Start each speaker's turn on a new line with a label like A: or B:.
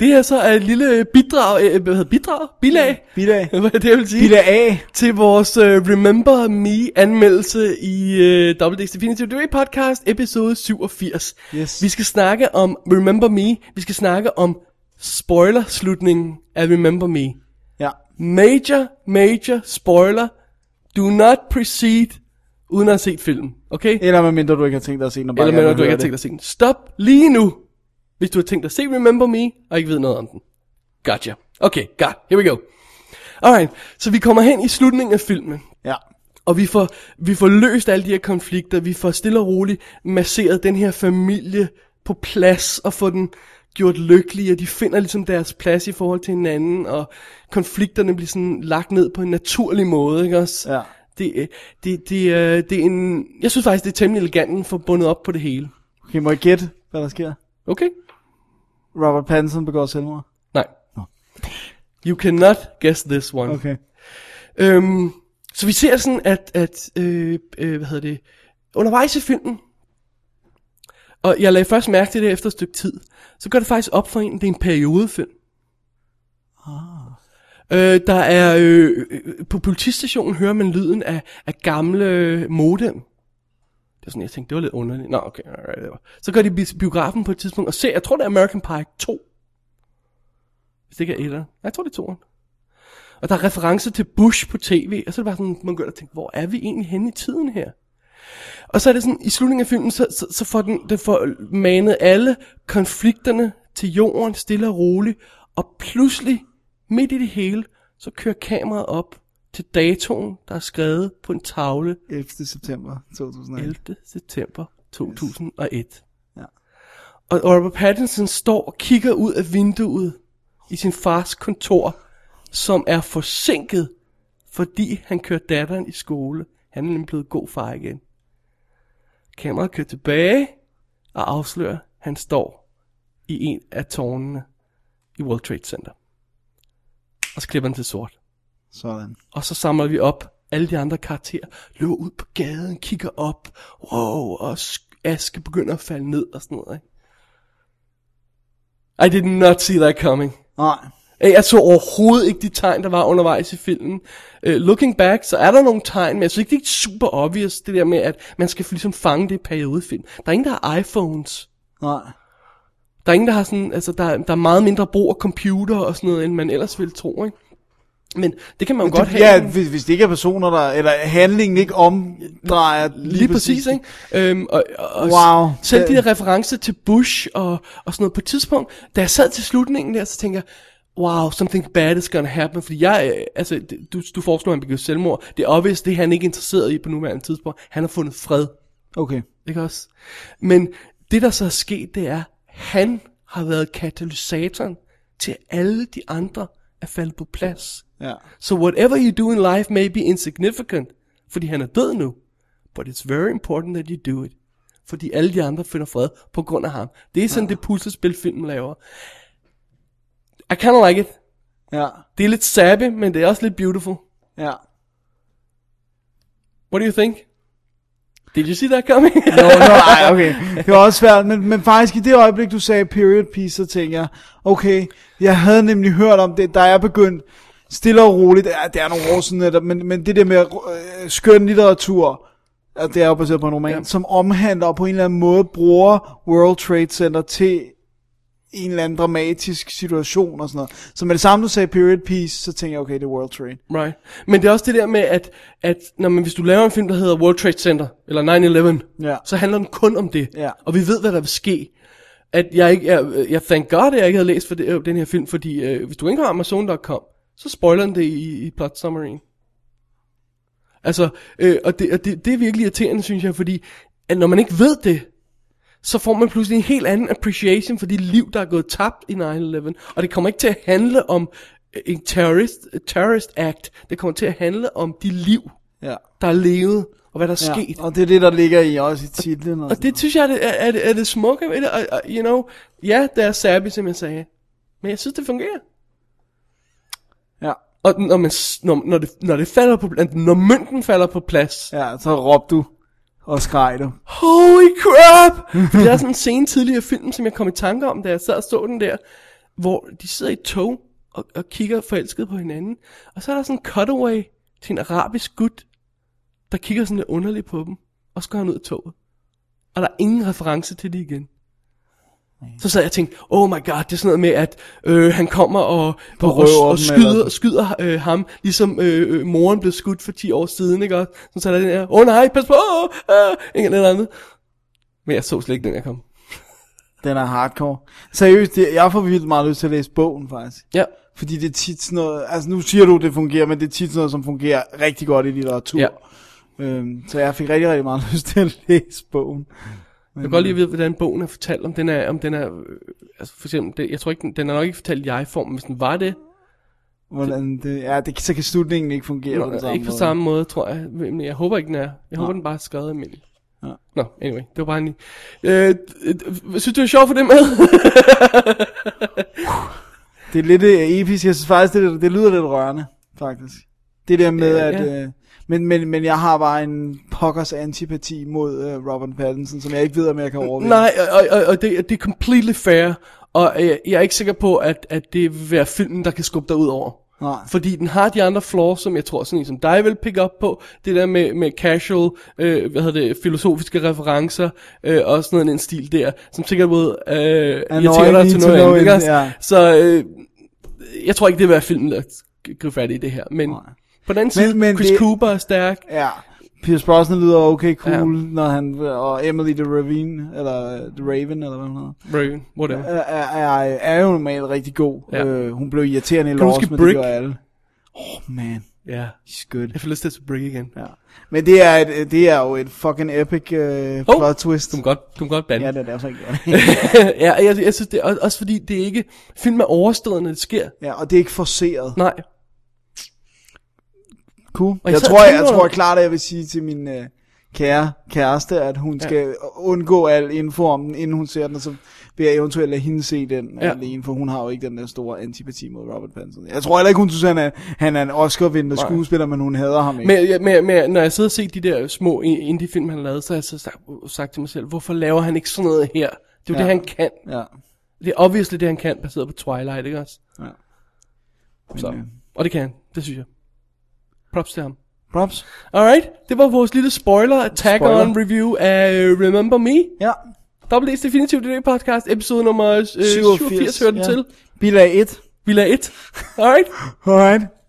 A: Det her så er et lille bidrag, øh, hvad hedder bidrag? Bilag?
B: Bilag.
A: Hvad er det, jeg vil sige?
B: Bilag A.
A: Til vores uh, Remember Me anmeldelse i uh, WD's Definitive Dewey podcast, episode 87.
B: Yes.
A: Vi skal snakke om Remember Me, vi skal snakke om spoiler-slutningen af Remember Me.
B: Ja.
A: Major, major spoiler. Do not proceed uden at have set filmen, okay?
B: Eller hvad mindre du ikke har tænkt dig at se den. og bare
A: Eller
B: gerne
A: mener
B: vil
A: du ikke
B: høre
A: har tænkt dig at se den. Stop lige nu, hvis du har tænkt dig at se Remember Me, og ikke ved noget om den. Gotcha. Okay, god. Here we go. Alright, så vi kommer hen i slutningen af filmen.
B: det. Ja.
A: Og vi får, vi får løst alle de her konflikter, vi får stille og roligt masseret den her familie på plads og få den gjort lykkelig, og de finder ligesom deres plads i forhold til hinanden, og konflikterne bliver sådan lagt ned på en naturlig måde, ikke også?
B: Ja.
A: Det, øh, det, det, øh, det er en, jeg synes faktisk, det er temmelig elegant den får bundet op på det hele.
B: Okay, må jeg gætte, hvad der sker?
A: Okay?
B: Robert Pattinson begår selvmord.
A: Nej. You cannot guess this one.
B: Okay.
A: Øhm, så vi ser sådan, at, at øh, øh, hvad hedder det, undervejs i filmen, og jeg lagde først mærke til det efter et stykke tid, så går det faktisk op for en, det er en periodefilm. Ah. Øh, der er, øh, øh, på politistationen hører man lyden af, af gamle øh, modem. Det var sådan, jeg tænkte, det var lidt underligt. Nå, okay, alright, whatever. Så går de i bi- biografen på et tidspunkt og ser, jeg tror det er American Pie 2. Hvis det ikke er etter. Jeg tror det er 2'eren. Og der er referencer til Bush på tv, og så er det bare sådan, man begynder at tænke, hvor er vi egentlig henne i tiden her? Og så er det sådan, i slutningen af filmen, så, så, så får den, den får manet alle konflikterne til jorden, stille og roligt, og pludselig, midt i det hele, så kører kameraet op til datoen, der er skrevet på en tavle
B: 11. september 2001.
A: 11. september 2001.
B: Ja.
A: Og Robert Pattinson står og kigger ud af vinduet i sin fars kontor, som er forsinket, fordi han kører datteren i skole. Han er nemlig blevet god far igen. Kameraet kører tilbage og afslører, at han står i en af tårnene i World Trade Center. Og så klipper han til sort.
B: Sådan.
A: Og så samler vi op alle de andre karakterer, løber ud på gaden, kigger op, wow, og sk- aske begynder at falde ned og sådan noget, ikke? I did not see that coming.
B: Nej.
A: Øh, Jeg så overhovedet ikke de tegn, der var undervejs i filmen. Uh, looking back, så er der nogle tegn, men jeg synes ikke, det er super obvious, det der med, at man skal ligesom fange det i periodefilm. Der er ingen, der har iPhones.
B: Nej.
A: Der er ingen, der har sådan, altså der, er- der er meget mindre brug af computer og sådan noget, end man ellers ville tro, ikke? Men det kan man jo godt
B: det,
A: have.
B: ja, hvis, hvis det ikke er personer, der... Eller handlingen ikke omdrejer...
A: Lige, lige præcis, ikke? Øhm, og, og, og
B: Wow.
A: s- Selv de
B: Det-
A: der referencer til Bush og, og sådan noget. På et tidspunkt, da jeg sad til slutningen der, så tænkte jeg, wow, something bad is gonna happen. Fordi jeg, øh, altså, det- du, du foreslår, at han begår selvmord. Det er obvious, det er han ikke interesseret i på nuværende tidspunkt. Han har fundet fred,
B: Okay.
A: ikke også? Men det, der så er sket, det er, han har været katalysatoren til at alle de andre at falde på plads.
B: Ja.
A: So whatever you do in life may be insignificant, fordi han er død nu. But it's very important that you do it. Fordi alle de andre finder fred på grund af ham. Det er sådan ja. det puslespil, filmen laver. I kinda like it.
B: Ja.
A: Det er lidt sappy, men det er også lidt beautiful.
B: Ja.
A: What do you think? Did you see that coming?
B: Nå, nå, ej, okay. Det var også svært, men, men faktisk i det øjeblik, du sagde period piece, så tænkte jeg, okay, jeg havde nemlig hørt om det, der er begyndt stille og roligt, det er, det er nogle år siden, netop, men, men det der med øh, skøn litteratur, og det er jo baseret på en roman, ja. som omhandler og på en eller anden måde bruger World Trade Center til en eller anden dramatisk situation og sådan noget. Så med det samme, du sagde period piece, så tænkte jeg, okay, det er World Trade.
A: right. Men det er også det der med, at, at når man, hvis du laver en film, der hedder World Trade Center, eller 9-11,
B: Ja.
A: så handler den kun om det.
B: Ja.
A: Og vi ved, hvad der vil ske. At jeg ikke, jeg, jeg thank god, at jeg ikke havde læst for det, øh, den her film, fordi øh, hvis du ikke har Amazon.com, så spoiler den det i, i plot summaryen. Altså, øh, og, det, og det, det er virkelig irriterende, synes jeg, fordi at når man ikke ved det, så får man pludselig en helt anden appreciation for de liv, der er gået tabt i 9-11. Og det kommer ikke til at handle om øh, en terrorist, terrorist act. Det kommer til at handle om de liv,
B: Ja.
A: der er levet, og hvad der er
B: ja.
A: sket.
B: Og det er det, der ligger i også i titlen.
A: Og det synes jeg er det, er, er det, er det smukke ved det, og, og you know, ja, det er sappy, som jeg sagde, men jeg synes, det fungerer.
B: Ja.
A: Og når, man, s- når, når, det, når det falder på når mønten falder på plads, ja.
B: Ja, så råbte du og skreg du.
A: holy crap! For der er sådan en scene tidligere i filmen, som jeg kom i tanke om, da jeg sad og så den der, hvor de sidder i et tog og, og kigger forelsket på hinanden. Og så er der sådan en cutaway til en arabisk gut, der kigger sådan lidt underligt på dem, og så går han ud af toget. Og der er ingen reference til det igen. Så sad jeg og tænkte, oh my god, det er sådan noget med, at øh, han kommer og, og, og,
B: røver
A: og
B: dem, eller
A: skyder, skyder øh, ham, ligesom øh, øh, moren blev skudt for 10 år siden, ikke også? Så er der den her, åh oh, nej, pas på, øh, ikke eller andet. Men jeg så slet ikke, den jeg kom.
B: Den er hardcore. Seriøst, det, jeg får vildt meget lyst til at læse bogen, faktisk.
A: Ja,
B: Fordi det er tit sådan noget, altså nu siger du, det fungerer, men det er tit sådan noget, som fungerer rigtig godt i litteratur.
A: Ja.
B: Øhm, så jeg fik rigtig, rigtig meget lyst til at læse bogen.
A: jeg kan godt lige vide, hvordan bogen er fortalt, om den er, om den er, øh, altså for eksempel, det, jeg tror ikke, den, den er nok ikke fortalt i jeg-form, men hvis den var det,
B: Hvordan det, ja, det, så kan slutningen ikke fungere på den
A: Nå,
B: samme
A: øh, ikke på
B: måde.
A: samme måde, tror jeg. Men jeg håber ikke, den er. Jeg håber, den bare er skrevet almindeligt.
B: Ja.
A: Nå, anyway, det var bare en... Øh, øh, synes du, det er sjovt for det med?
B: Det er lidt øh, episk. Jeg synes faktisk, det, det lyder lidt rørende, faktisk. Det der med,
A: Ja,
B: ja,
A: ja.
B: at... Øh, men, men, men jeg har bare en pokkers antipati mod øh, Robert Pattinson, som jeg ikke ved, om jeg kan overvinde.
A: Nej, og, og, og det, det er completely fair. Og øh, jeg er ikke sikker på, at, at det vil være filmen, der kan skubbe dig ud over.
B: Nej.
A: Fordi den har de andre flaws, som jeg tror, sådan en som dig vil pick up på. Det der med, med casual, øh, hvad hedder det, filosofiske referencer, øh, og sådan noget, en stil der, som sikkert både øh, irriterer dig
B: need
A: til
B: to
A: noget
B: know
A: andet.
B: it,
A: ikke også?
B: ja.
A: Så øh, jeg tror ikke, det vil være filmen, der g- griber fat i det her. Men
B: Nej.
A: på den anden side,
B: men
A: Chris
B: det-
A: Cooper er stærk.
B: Ja. Pierce Brosnan lyder okay cool,
A: Ja.
B: ja. når han, og Emily the Ravine, eller øh, The Raven, eller hvad hun hedder,
A: Raven, whatever.
B: er, er, er, er jo normalt rigtig god.
A: Ja.
B: Ja. Øh, hun blev irriterende i
A: du
B: Lost,
A: huske
B: men
A: Brick?
B: det gør alle. Åh, oh, man.
A: Ja. Yeah.
B: He's good.
A: Jeg får lyst til at se Brick igen.
B: Ja. Men det er, et, øh, det er jo et fucking epic øh,
A: Hov,
B: plot twist.
A: Du må godt, du må godt bande.
B: Ja, det er derfor, jeg gjorde det.
A: ja, jeg, jeg synes, det er også- også fordi, det er ikke... Film er overstået, når det sker.
B: Ja, og det er ikke forceret.
A: Nej.
B: Cool.
A: Og
B: Jeg, jeg
A: især
B: tror, jeg, jeg
A: tænker-
B: tror klart, at jeg vil sige til min øh, kære kæreste, at hun ja. skal undgå al info om den, inden hun ser den, og så vil jeg eventuelt lade hende se den
A: Ja.
B: ja. alene, for hun har jo ikke den der store antipati mod Robert Pattinson. Jeg tror heller ikke, hun synes, han er, han er en Oscar-vindende
A: Nej.
B: skuespiller, men hun hader ham ikke. Men...
A: Men, jeg- men, men når jeg sidder og ser de der små i- indie-film, han har lavet, så har jeg så sagt, sagt til mig selv, hvorfor laver han ikke sådan noget her? Det er jo ja. det,
B: Ja.
A: han kan.
B: Ja.
A: Det er obviously det, han kan, baseret på Twilight, ikke også?
B: ja.
A: Så.
B: øh,
A: Og det kan han, det synes jeg. Props til ham.
B: Props.
A: Alright, det var vores lille spoiler, tag
B: Spoiler.
A: on review af øh, Remember Me.
B: Ja.
A: Double D's Definitive DD podcast, episode nummer øh, 87, 87 hører den ja. til.
B: Bilag 1.
A: Vi lader et. Alright.
B: Alright.